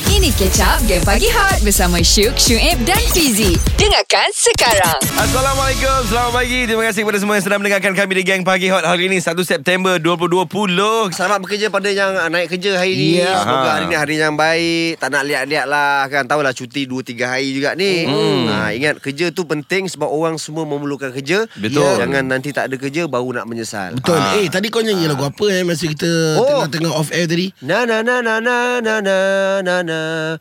Ini Catch Up Game Pagi Hot bersama Syuk, Syuib dan Fizi. Dengarkan sekarang. Assalamualaikum, selamat pagi. Terima kasih kepada semua yang sedang mendengarkan kami di Gang Pagi Hot hari ini 1 September 2020. Selamat bekerja pada yang ah, naik kerja hari ni. Ya. Semoga Ha. hari ni hari yang baik. Tak nak liat-liat lah kan. Tahulah cuti 2-3 hari juga ni. Ha, ingat kerja tu penting sebab orang semua memerlukan kerja. Betul. Ya. Jangan nanti tak ada kerja baru nak menyesal. Betul. Ah. Ha. Eh, tadi kau nyanyi lagu apa eh masa kita Oh. oh. tengah-tengah off air tadi? Na na na na na na na na na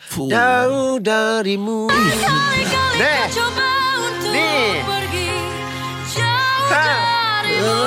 Fuh. Jauh darimu Kali-kali Dek. kau cuba untuk Ni. pergi Jauh Ha. darimu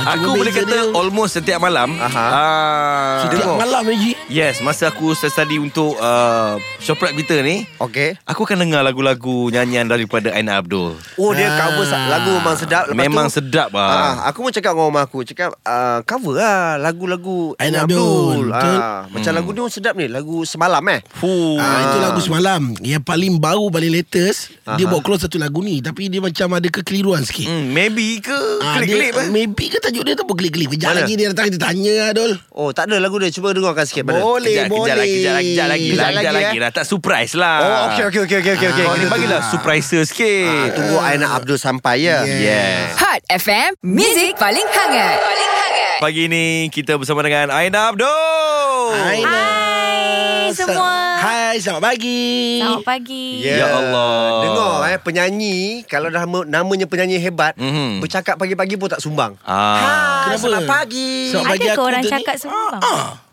Ah, Aku cuma boleh beza kata dia- almost setiap malam. Aha. ah, setiap dengar. malam lagi. Yes, masa aku study untuk uh, Shoprite kita ni, Okay aku akan dengar lagu-lagu nyanyian daripada Aina Abdul. Oh dia Ah. cover sa- lagu memang sedap Lepas Memang tu, sedap ah. Ah, aku pun cakap dengan rumah aku Cakap ah, cover lah Lagu-lagu Ain Ain Abdul, betul. ah, Macam lagu ni pun sedap ni Lagu semalam eh Fuh. Ah, itu lagu semalam Yang paling baru Paling latest Dia Aha. buat keluar satu lagu ni Tapi dia macam ada kekeliruan sikit Hmm, eh? maybe ke? Ah, Klik-klik dia, apa? Maybe ke tajuk dia tu apa klik-klik Kejap Mana? lagi dia datang Kita tanya lah Dol Oh tak ada lagu dia Cuba dengarkan sikit pada Boleh Kejap, boleh kejap lagi, kejap lagi, kejap lagi, Kejap lah, kejap lagi, lagi eh. lah. lah. Tak surprise lah. Oh okey okey okey okey okey okey. Kau ni Kita bagilah surpriser Ah, sikit. tunggu Aina Abdul sampai ya. Yes. Hot FM, Music paling hangat. Paling hangat. Pagi ni kita bersama dengan Aina Abdul. Hai Hai semua. Hai selamat pagi Selamat pagi Ya Allah. Dengar eh penyanyi kalau dah me- namanya penyanyi hebat, Mhm. bercakap pagi-pagi pun tak sumbang. Ah. Hai, Kenapa? Selamat pagi. Selamat Ada pagi ke aku orang tadi. cakap Ah, semua bang?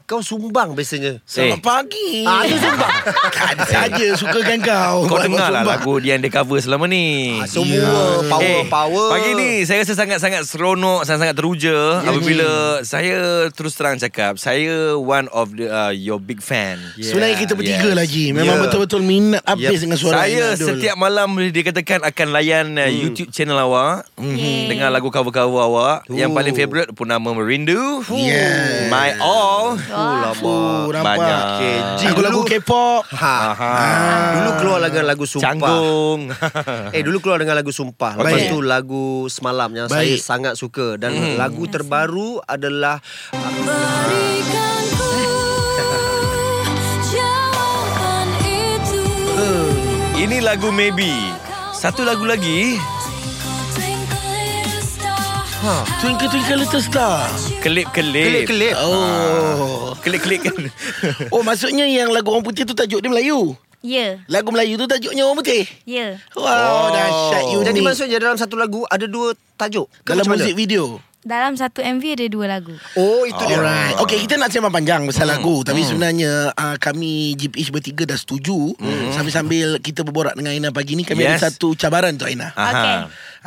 Kau sumbang biasanya. Selamat Eh. pagi Ah, tu sumbang. Kan saja Sukakan kau Kau dengar lah Sumbang. lagu dia yang dia cover selama ni. Ah, semua Ya. power Eh, power. Pagi ni saya rasa sangat-sangat seronok, sangat-sangat teruja Ya, apabila saya terus terang cakap, saya one of the uh, your big fan. Yeah. Sebenarnya kita bertiga Yes. Ya. yes. lagi Memang Yeah. yeah. betul-betul minat Habis Yep. yep. dengan suara Saya Aina Hmm. Dol. setiap malam boleh dikatakan akan layan uh, YouTube channel awak Hmm, Yeay. dengan lagu cover-cover awak. Yang Ooh. paling favorite Purnama Merindu. Yes. My All. Wah. Oh, nampak Banyak. Okay, Eh, G dulu. Lagu-lagu K-pop Ha. Ah. Dulu keluar dengan lagu sumpah. Canggung. Eh dulu keluar dengan lagu Sumpah Lepas Baik. tu lagu Semalam Yang saya Baik. Hmm. sangat suka Dan lagu terbaru adalah Berikan ku jawapan itu Ini lagu Maybe. Satu lagu lagi, Ha. Twinkle Twinkle Little Star kelip-kelip. Kelip-kelip Oh Kelip-kelip kan. Oh maksudnya yang lagu orang putih tu Tajuk dia Melayu Ya, Lagu Melayu tu tajuknya orang putih ya. Wow oh. dahsyat unik Jadi maksudnya dalam satu lagu Ada dua tajuk Ke Dalam macam mana? muzik video Dalam satu MV ada dua lagu. Oh itu dia Alright Okay kita nak sembang panjang Pasal lagu Tapi sebenarnya uh, Kami GPH bertiga dah setuju Sambil-sambil Kita berborak dengan Aina pagi ni Kami Yes. ada satu cabaran tu Aina Aha. Okey.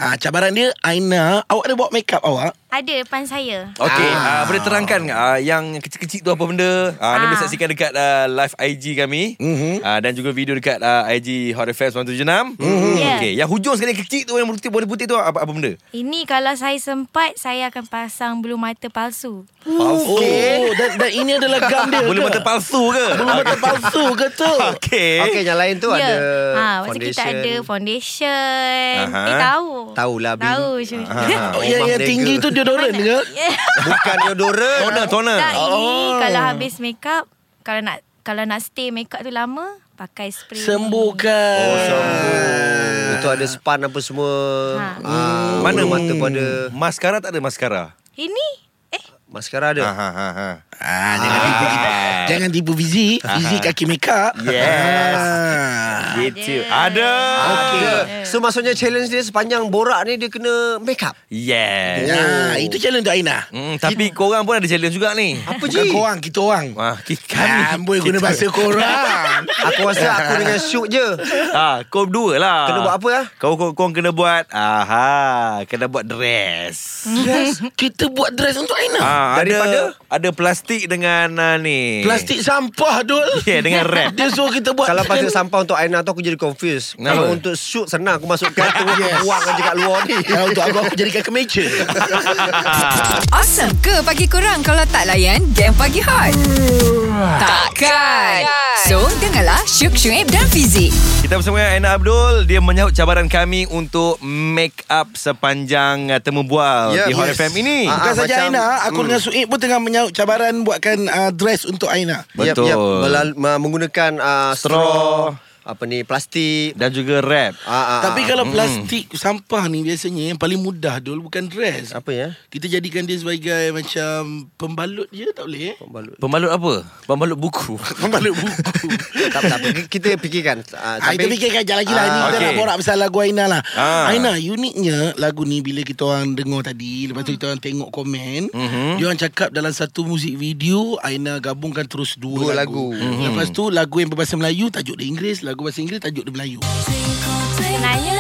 Ah, cabaran dia Aina Awak ada bawa make up awak Ada depan saya. Okey, ah. uh, boleh terangkan uh, yang kecil-kecil tu apa benda? Uh, Anda Ah. boleh saksikan dekat uh, live IG kami Mhm. uh, dan juga video dekat uh, IG Hot FM 176. Mm-hmm. Ya. Okey, yang hujung sekali yang kecil tu yang putih warna putih tu apa apa benda? Ini kalau saya sempat, saya akan pasang bulu mata palsu. Okay. Oh, dan, dan ini adalah gam dia. Bulu ke? mata palsu ke? Ah, Bulu mata palsu ke tu? Okey. Okay yang lain tu Ya. ada ha, Masa Foundation kita ada foundation Aha. Eh tahu Tahulah, Bi. Tahu Syul. Ah, Oh, yang, Omah yang Merdeka. tinggi tu deodorant ke? Yeah. Bukan deodorant Toner, toner. Tak ini Oh. Kalau habis make up Kalau nak Kalau nak stay make up tu lama Pakai spray Sembuhkan. Oh sambung Ah. Itu ada span apa semua Ha. Hmm. ah, Mana mata pun ada Maskara tak ada maskara. Ini Eh Maskara ada Ha ha ha. Ah, jangan tipu kita. Jangan tipu Fizi. Fizi Ah. kaki make up. Yes. Ah. Gitu. Ada. Okay. So maksudnya challenge dia sepanjang borak ni dia kena make up. Yes. Oh. Ya, itu challenge untuk Aina. Hmm, tapi korang pun ada challenge juga ni. Apa Bukan je? korang, kita orang. Wah, ki- kami. Ah, Amboi guna bahasa korang. Aku rasa aku dengan Syuk je. Ha, kau dua lah. Kena buat apa lah? Kau kau kau kena buat aha, kena buat dress. Dress. Kita buat dress untuk Aina. Ah, Ha, Daripada? ada ada plastik dengan uh, ni. Plastik sampah, Dul. Ya, yeah, dengan wrap. Dia suruh kita buat Kalau pasal sampah untuk Aina tu aku jadi confused. Kenapa? Kalau untuk shoot senang aku masukkan tu yes. buang aja kat luar ni. Ya, untuk aku, aku jadikan kemeja. Awesome ke pagi korang kalau tak layan Game Pagi Hot? Takkan. So, dengarlah Syuk Syuib dan Fizi. Kita bersama dengan Aina Abdul Dia menyahut cabaran kami Untuk make up sepanjang uh, Temu bual Ya, Di Hot yes. FM ini Ah, Bukan ah, saja macam- Aina Aku Hmm. dengan Suib pun tengah menyahut cabaran Buatkan uh, dress untuk Aina Betul. Melal- me- menggunakan uh, straw, Straw. apa ni plastik. Dan juga rap Ah, ah, ah. Tapi kalau plastik sampah ni Biasanya yang paling mudah Dul Bukan dress apa ya? Kita jadikan dia sebagai Macam Pembalut je tak boleh eh? Pembalut. Pembalut apa? Pembalut buku Pembalut buku tak, tak, apa. kita fikirkan. Uh, Ah, kita fikirkan je lagi lah Ini Ah, kita nak okey. borak pasal lagu Aina lah Ah. Aina uniknya Lagu ni bila kita orang dengar tadi Lepas Hmm. tu kita orang tengok komen Mhm. Dia orang cakap dalam satu muzik video Aina gabungkan terus dua, Dua lagu, lagu. Mhm. Lepas tu lagu yang berbahasa Melayu Tajuk dia Inggeris Lagu bahasa Inggeris tajuk dia Melayu Sebenarnya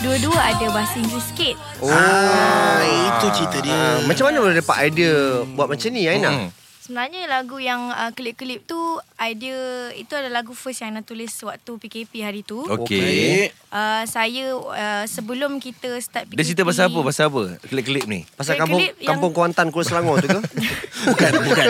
Dua-dua ada bahasa Inggeris sikit Oh. Ah, itu cerita dia. Ah, macam mana boleh dapat idea buat macam ni Aina? Sebenarnya lagu yang uh, klip-klip tu Idea Itu adalah lagu first yang Ana tulis Waktu PKP hari tu Okey Okey. Eh, uh, Saya uh, Sebelum kita start PKP Dia cerita pasal apa? Pasal apa? Klip-klip ni Pasal Saya kampung klip yang- kampung Kuantan Kuala Selangor tu ke? Bukan, bukan.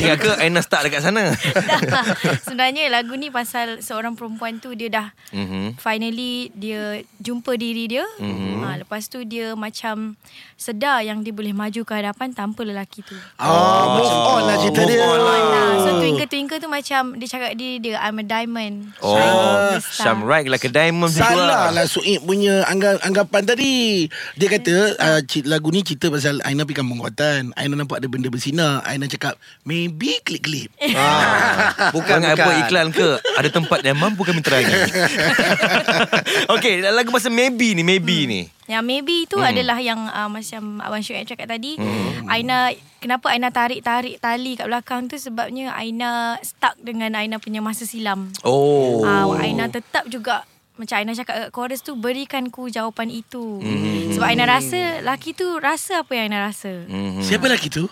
Ingat ke Aina start dekat sana? Dah. Sebenarnya lagu ni pasal seorang perempuan tu dia dah Mhm. finally dia jumpa diri dia. Mm-hmm. Ha, lepas tu dia macam sedar yang dia boleh maju ke hadapan tanpa lelaki tu. Ah, move on lah cerita Move dia. on lah. Uh, so twinkle twinkle tu macam dia cakap diri dia I'm a diamond. Oh, Syam right like a diamond gitu Salah lah Suib punya angga- anggapan tadi Dia kata uh, cik, lagu ni cerita pasal Aina pergi kampung Kuantan Aina nampak ada benda bersinar Aina cakap Maybe klik-klik ah. Bukan Bukan bukan. apa iklan ke Ada tempat yang mampu kami terangi Okay Lagu pasal maybe ni Maybe ni Yang Ya, maybe tu Mhm. adalah yang uh, macam Abang Syuk cakap tadi. Aina kenapa Aina tarik-tarik tali kat belakang tu sebabnya Aina stuck dengan Aina punya masa silam. Oh Ah, Aina tetap juga macam Aina cakap kat chorus tu berikan ku jawapan itu. Hmm. Mm. Sebab Aina rasa laki tu rasa apa yang Aina rasa. Mhm. Mm. Siapa lelaki tu?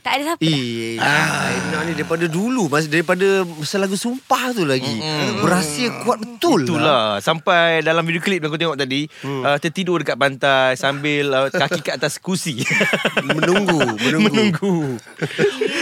Tak ada siapa. Eh, Aina ni daripada dulu mas daripada masa lagu sumpah tu lagi. Berhasil kuat betul. lah. Itulah Sampai dalam video klip yang kau tengok tadi hmm. uh, Tertidur dekat pantai Sambil uh, kaki kat atas kursi Menunggu, menunggu. Kan? Menunggu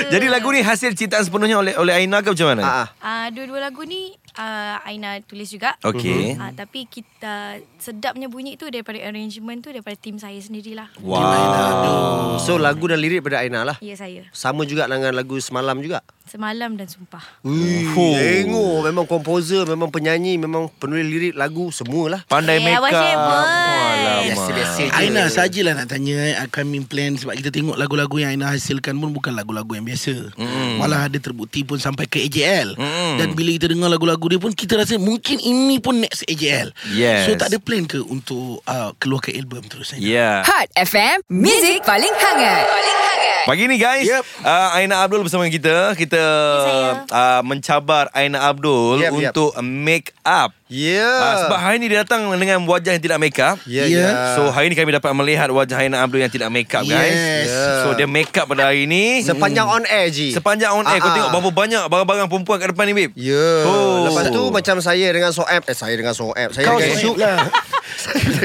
Jadi lagu ni hasil ciptaan sepenuhnya oleh oleh Aina ke macam mana? Ah, ah. Ah, dua-dua lagu ni ah, Aina tulis juga. Okey. Ah, tapi kita sedapnya bunyi tu daripada arrangement tu daripada tim saya sendirilah. Wow Oh, So lagu dan lirik pada Aina lah. Ya saya. Sama juga dengan lagu semalam juga. Semalam dan sumpah. Ui, Oh. Tengok memang komposer, memang penyanyi, memang penulis lirik lagu semualah. Pandai Eh, make Abang up Syamul. Alamak Biasa-biasa je. Aina sajalah nak tanya eh, Kami plan Sebab kita tengok lagu-lagu yang Aina hasilkan pun Bukan lagu-lagu yang biasa Mhm. mm. Malah ada terbukti pun sampai ke AJL mm. Dan bila kita dengar lagu-lagu dia pun Kita rasa mungkin ini pun next AJL Yes. So tak ada plan ke untuk uh, keluarkan album terus Aina? Yeah Hot FM, Music paling hangat. Paling hangat. Pagi ni guys Yep. uh, Aina Abdul bersama kita Kita saya. uh, mencabar Aina Abdul Yep, yep. Untuk make up Ya. uh, Sebab hari ni dia datang dengan wajah yang tidak make up Ya, Ya. ya. So hari ni kami dapat melihat wajah Aina Abdul yang tidak make up guys Yes. Yeah. So dia make up pada hari ni Sepanjang on air je. Mm. Sepanjang on air Kau Ah, ah. tengok berapa banyak barang-barang perempuan kat depan ni babe Ya. Yeah. Oh. Oh. Lepas tu macam saya dengan Soeb, eh saya dengan Soeb, saya Kau dengan dengan Syuk. Suib lah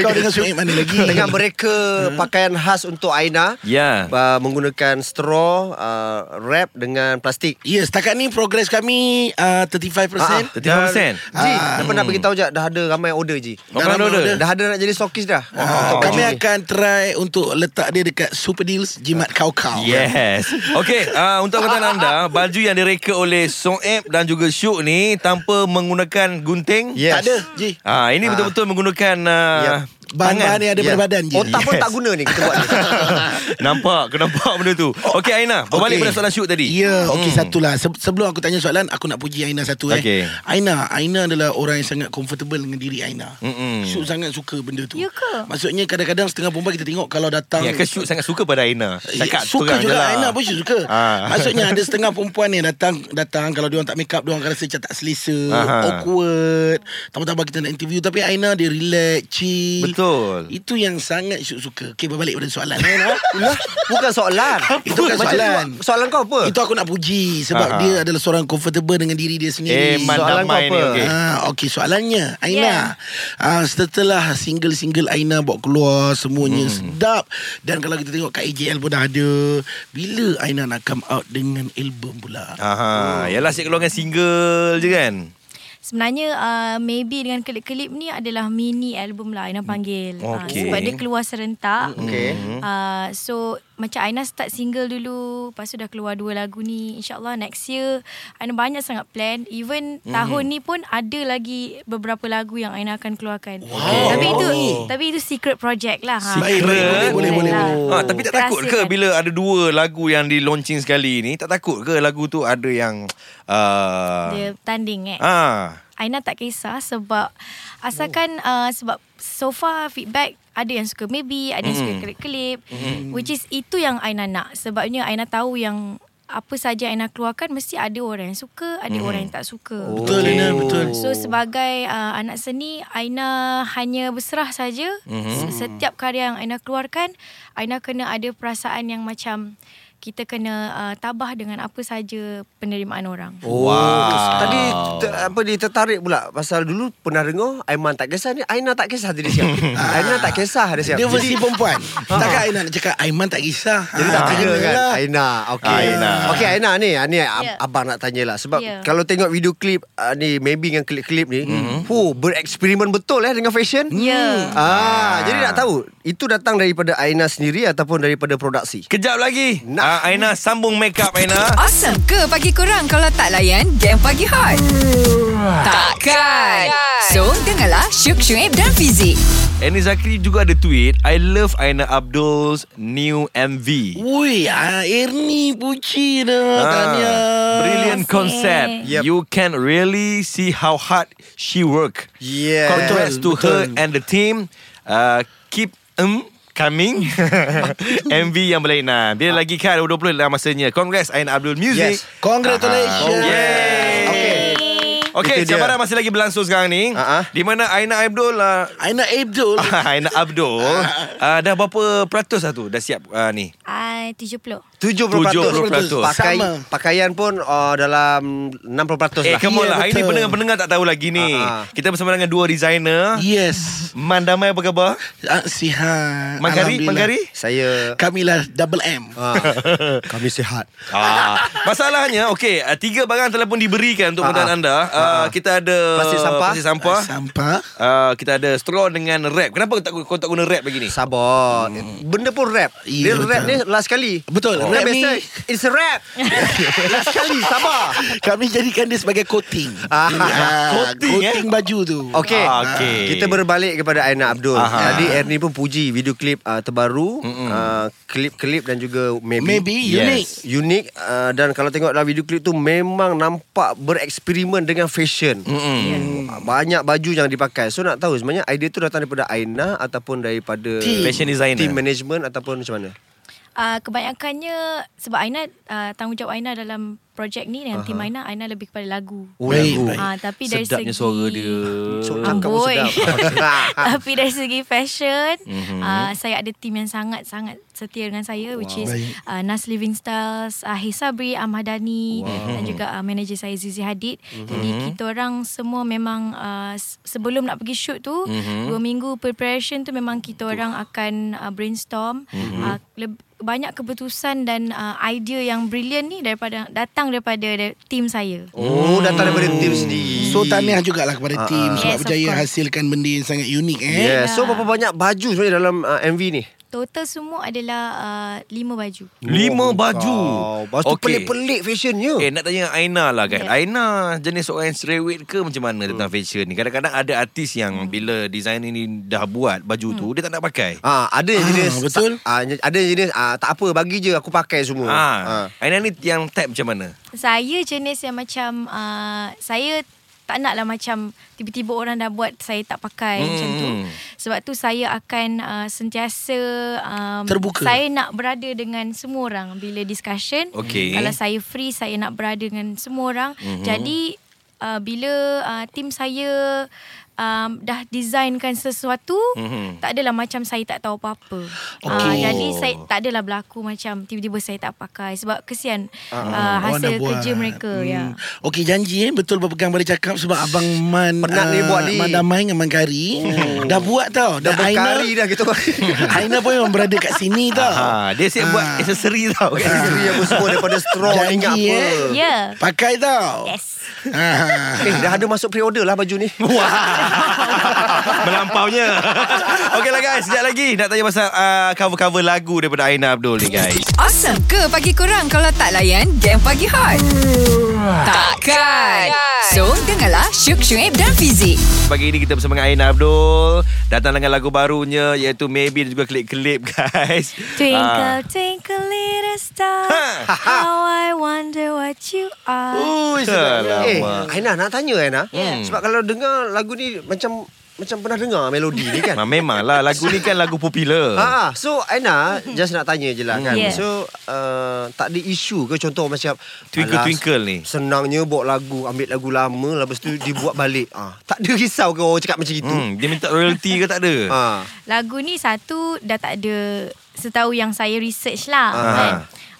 Kau dengan Suib mana lagi Dengan mereka pakaian khas untuk Aina. Hmm. Ya. Uh, menggunakan straw, uh, wrap dengan plastik. Ya, yes, setakat ni progres kami uh, 35%. Ah, ah, 35%. Ji, dah pernah beritahu je dah ada ramai order Ji. Oh, ramai Ah. order. Dah ada nak jadi stokis dah. Ah, Untuk baju kami ni. akan try untuk letak dia dekat Super Deals Jimat Kau Kau. Yes Okay uh, Untuk Ah, pengetahuan anda Baju yang direka oleh Soeb Dan juga Syuk ni Tanpa menggunakan gunting Yes. Tak ada, Ji. Ah ini betul-betul menggunakan uh, Yep. Bahan-bahan yang ada Ya. pada badan, Ji. Otak pun tak guna ni kita buat ni. Nampak, kau nampak benda tu. Okey Aina, berbalik Oh, Okey. Oh, pada soalan shoot tadi. Hmm. Ya, okey satulah. Se- sebelum aku tanya soalan, aku nak puji Aina satu eh. Okey. Aina, Aina adalah orang yang sangat comfortable dengan diri Aina. Mm-mm. Syuk sangat suka benda tu. Ya ke? Maksudnya kadang-kadang setengah perempuan kita tengok kalau datang Ya, kan shoot sangat suka pada Aina. Cakap Ya, suka terang je juga lah. Aina pun Syuk suka Ah. Maksudnya ada setengah perempuan yang datang Datang kalau dia orang tak make up Dia orang akan rasa macam tak selesa Aha. Awkward Tambah-tambah kita nak interview Tapi Aina dia relax Chill Betul. Betul. Itu yang sangat Syuk suka Okay berbalik pada soalan eh, Noh. Lah, bukan soalan. Itu bukan Macam soalan. tu, Soalan kau apa? kan Itu aku nak puji Sebab Aha. dia adalah seorang comfortable Dengan diri dia Eh, sendiri man Soalan kau damai ni. apa? Okay. Ah, okey soalannya Aina. Ah, setelah single-single Aina bawa keluar semuanya hmm. sedap dan kalau kita tengok kat AJL pun dah ada. Bila Aina nak come out dengan album pula? Oh. Aha, yalah asyik keluarkan single je kan. Sebenarnya uh, maybe dengan klip-klip ni adalah mini album lah Aina panggil. Mm. Ah, Okey. sebab dia keluar serentak. Mm-hmm. Okey. Uh, so macam Aina start single dulu, lepas tu dah keluar dua lagu ni. InsyaAllah next year Aina banyak sangat plan. Even Mm-hmm. tahun ni pun ada lagi beberapa lagu yang Aina akan keluarkan. Wow. Tapi itu Okey. tapi itu secret project lah. Ha. Baik, baik, Secret. boleh, boleh, boleh, Lah. boleh. Ha, tapi tak takut ke Rahsiakan. bila ada dua lagu yang di launching sekali ni, tak takut ke lagu tu ada yang uh, Dia tanding eh. Ah, Aina tak kisah sebab asalkan oh. uh, sebab so far feedback ada yang suka maybe, ada yang suka klip-klip mm. which is itu yang Aina nak sebabnya Aina tahu yang apa saja Aina keluarkan mesti ada orang yang suka, ada orang yang tak suka. Betul Okey. Aina, Oh. betul. So sebagai uh, anak seni Aina hanya berserah saja mm-hmm. setiap karya yang Aina keluarkan Aina kena ada perasaan yang macam kita kena uh, tabah dengan apa saja penerimaan orang. Oh. Tadi ter, apa dia tertarik pula pasal dulu pernah dengar Aiman tak kisah ni Aina tak kisah tadi siap. Aina tak kisah dia siap. Dia versi Jadi- perempuan. Takkan Aina nak cakap Aiman tak kisah. Jadi tak Ah, kira Aina kan lah. Aina Okay Aina. Okay Aina ni ah, Ni ab- Ya. abang nak tanya lah Sebab Ya. kalau tengok video klip ah, Ni maybe dengan klip-klip Mhm. ni mm-hmm. Fuh bereksperimen betul eh Dengan fashion Ya. ah, Jadi nak tahu Itu datang daripada Aina sendiri Ataupun daripada produksi Kejap lagi. Nah. Ah, Aina sambung make up Aina. Awesome ke pagi korang kalau tak layan game pagi hot? Takkan. So, dengarlah Syuk Syuib dan Fizik. Annie Zakri juga ada tweet, I love Aina Abdul's new MV. Ui, ah, Ernie puji dah. Ah, Tahniah. Brilliant Terima kasih. concept. Yep. You can really see how hard she work. Yeah Congrats to Betul, her betul. and the team. Uh, keep um coming. MV yang berlainan. Bila lagi kan 20 dah masanya. Congrats Aina Abdul Music. Ah. Yes. Oh, Congratulations. Aha. Yay. Okay Okay, Itu dia. cabaran masih lagi berlangsung sekarang ni. Ah, ah. Di mana Aina Abdul uh, Aina Abdul. Aina Abdul uh, Ah. dah berapa peratus lah tu dah siap uh, ni? Ah 70. 70%, 70%. Pakai, Sama. Pakaian pun uh, dalam 60% Eh, lah come on Ya, lah. Hari ni betul. pendengar-pendengar tak tahu lagi ni. Ah, ah. Kita bersama dengan dua designer. Yes. Man Damai apa khabar? Ah, sihat. Mangkari, Alhamdulillah. Mangkari? Saya Kamilah double M. ah, Kami sihat Ah, masalahnya okey, ah, tiga barang telah pun diberikan untuk Ah, pendataan ah. anda. Ah, Ah, ah. kita ada Plastik sampah. plastik sampah. Sampah. Ah, kita ada straw dengan wrap. Kenapa tak kau tak guna wrap lagi ni? Sabar Benda pun rap Dia Ya, rap Hmm. betul. ni last kali Betul, oh. rap Rap biasa ni- It's a rap Last kali Sabar Kami jadikan dia sebagai coating. Ah, eh? coating, coating baju tu. Okay. Ah, okey. Kita berbalik kepada Aina Abdul Aha. Tadi Ernie pun puji Video klip uh, terbaru uh, Klip-klip dan juga Maybe, Maybe Yes. unique. Unik uh, Dan kalau tengok dalam video klip tu Memang nampak Bereksperimen dengan fashion Mm. Uh, Banyak baju yang dipakai So nak tahu sebenarnya Idea tu datang daripada Aina Ataupun daripada Team. Fashion designer. Team management Ataupun macam mana Uh, kebanyakannya sebab Aina uh, tanggungjawab Aina dalam projek ni dengan tim Aina Aina lebih kepada lagu. Oh, Baik, lagu. baik. Ah uh, tapi dari Sedapnya segi suara dia. So, Ah, cakap pun boy. sedap. tapi dari segi fashion mm-hmm. uh, saya ada tim yang sangat-sangat setia dengan saya wow. which is Baik. uh, Nas Living Styles, uh, Hey Sabri, Ahmadani wow. dan juga uh, manager saya Zizi Hadid. Mm-hmm. Jadi kita orang semua memang uh, s- sebelum nak pergi shoot tu mm-hmm. dua minggu preparation tu memang kita orang akan uh, brainstorm mm-hmm. uh, leb- banyak keputusan dan uh, idea yang brilliant ni daripada datang daripada da- tim saya. Oh, datang daripada tim sendiri. So tahniah eh? jugalah Ah, kepada tim sebab Yes, of berjaya course. Ya, hasilkan benda yang sangat unik eh. Yeah. So berapa banyak baju sebenarnya dalam uh, MV ni? Total semua adalah uh, lima baju. Lima baju. Oh, Wow. Baju tu Okey. pelik-pelik fashionnya. Eh nak tanya Aina lah kan yeah. Ya. Aina jenis orang yang cerewet ke Macam mana Hmm. tentang fashion ni Kadang-kadang ada artis yang Bila designer ni dah buat baju tu Dia tak nak pakai Ah, ada yang Ah, jenis betul. Ah, ada yang jenis ah, tak apa bagi je aku pakai semua. Ah, Aina ni yang type macam mana Saya jenis yang macam uh, saya tak nak lah macam tiba-tiba orang dah buat saya tak pakai Hmm. hmm. macam tu. Sebab tu saya akan uh, sentiasa um, Terbuka. Saya nak berada dengan semua orang bila discussion. Okey. Kalau saya free saya nak berada dengan semua orang. Hmm. Jadi uh, bila uh, tim saya um, dah designkan sesuatu, Mhm. mm-hmm. tak adalah macam saya tak tahu apa-apa. Okay. Uh, Okey. jadi saya tak adalah berlaku macam tiba-tiba saya tak pakai sebab kesian uh, uh, Orang dah hasil buat. kerja mereka hmm. ya. Okey janji eh Betul berpegang pada cakap Sebab Abang Man eh, Penat ni buat ni. Man Damai dengan Man Kari oh. Dah buat tau Dah berkali Aina, dah kita Aina pun memang berada kat sini tau Ha, dia siap Ah. buat aksesori tau. kan? Isteri apa semua Daripada straw Janji, Ingat apa eh. Ya. Yeah. Pakai tau Yes. Ah. Eh, dah ada masuk pre-order lah baju ni. Melampaunya Okay lah guys Sekejap lagi Nak tanya pasal uh, Cover-cover lagu Daripada Aina Abdul ni guys Awesome ke pagi korang kalau tak layan game pagi hot? Takkan. So, dengarlah Syuk Syuib dan Fizik. Pagi ini kita bersama dengan Aina Abdul Datang dengan lagu barunya Iaitu Maybe Dan juga klip-klip guys Twinkle, twinkle, little star. Ha. How I wonder what you Oh. are. Ui, Eh, Alamak Aina nak tanya Aina. Yeah. Sebab kalau dengar lagu ni macam macam pernah dengar melodi ni kan. Ma, Ah, memanglah lagu ni kan lagu popular. Ha. Ha, so Aina Mm-hmm. just nak tanya je lah kan. Yeah. So uh, tak ada isu ke contoh macam Twinkle alas, Twinkle ni. Senangnya buat lagu, ambil lagu lama lepas tu dibuat balik. Ah, tak ada risau ke orang cakap macam itu. Hmm, dia minta royalty ke tak ada? Ha. Lagu ni satu dah tak ada setahu yang saya research lah Ah. kan.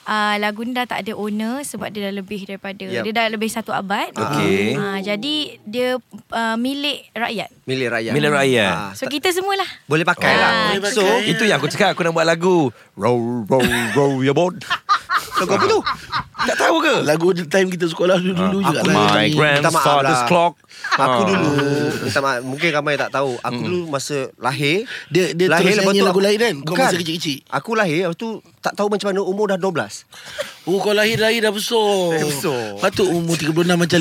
Uh, lagu ni dah tak ada owner sebab dia dah lebih daripada Yep. dia dah lebih satu abad. Okey. Uh, jadi dia uh, milik rakyat. Milik rakyat. Milik rakyat. Ah, So tak- kita semualah. boleh pakai lah. Ah, Boleh So, pakai. Itu yang aku cakap aku nak buat lagu. Row row row your boat. lagu apa tu? Tak tahu ke? Lagu time kita sekolah dulu-dulu Ah, juga aku lah My ni. grandfather's lah. clock. Aku Ah. Hmm. dulu minta maaf, Mungkin ramai tak tahu Aku dulu masa lahir Dia- dia terus nyanyi lagu aku- lain kan? Kau Bukan. masa kecil-kecil? Aku lahir Lepas tu Tak tahu macam mana Umur dah 12 Oh kau lahir-lahir dah besar Dah besar. Patut umur 36 macam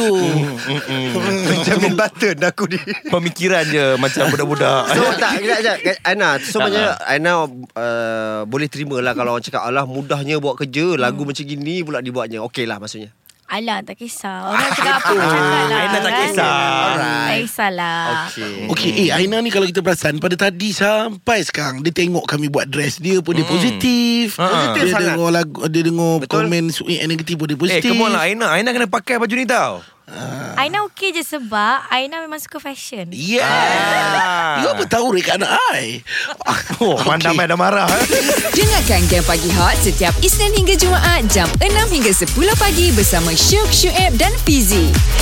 57 Jamin button aku ni Pemikiran je macam budak-budak. So tak Kejap kejap Aina So macam Aina uh, Boleh terima lah Kalau orang cakap Alah mudahnya buat kerja Lagu macam gini pula dibuatnya Okey lah maksudnya Alah tak kisah. Orang cakap apa cakap lah. Aina tak kan? kisah. Tak kisahlah. Okey Okey, eh Aina ni kalau kita perasan pada tadi sampai sekarang dia tengok kami buat dress dia pun dia Mm. positif. Ha. Positif Dia sangat. dengar lagu dia dengar Betul. komen sui- negatif pun dia Eh, positif. come on lah Aina. Aina kena pakai baju ni tau. Aina okey je sebab Aina memang suka fashion. Yeah. Ah. Ah. You apa tahu rek anak ai? Oh, okay. Okey. pandai dah marah. eh. Dengarkan game pagi hot setiap Isnin hingga Jumaat jam 6 hingga 10 pagi bersama Syuk Syuib dan Fizik.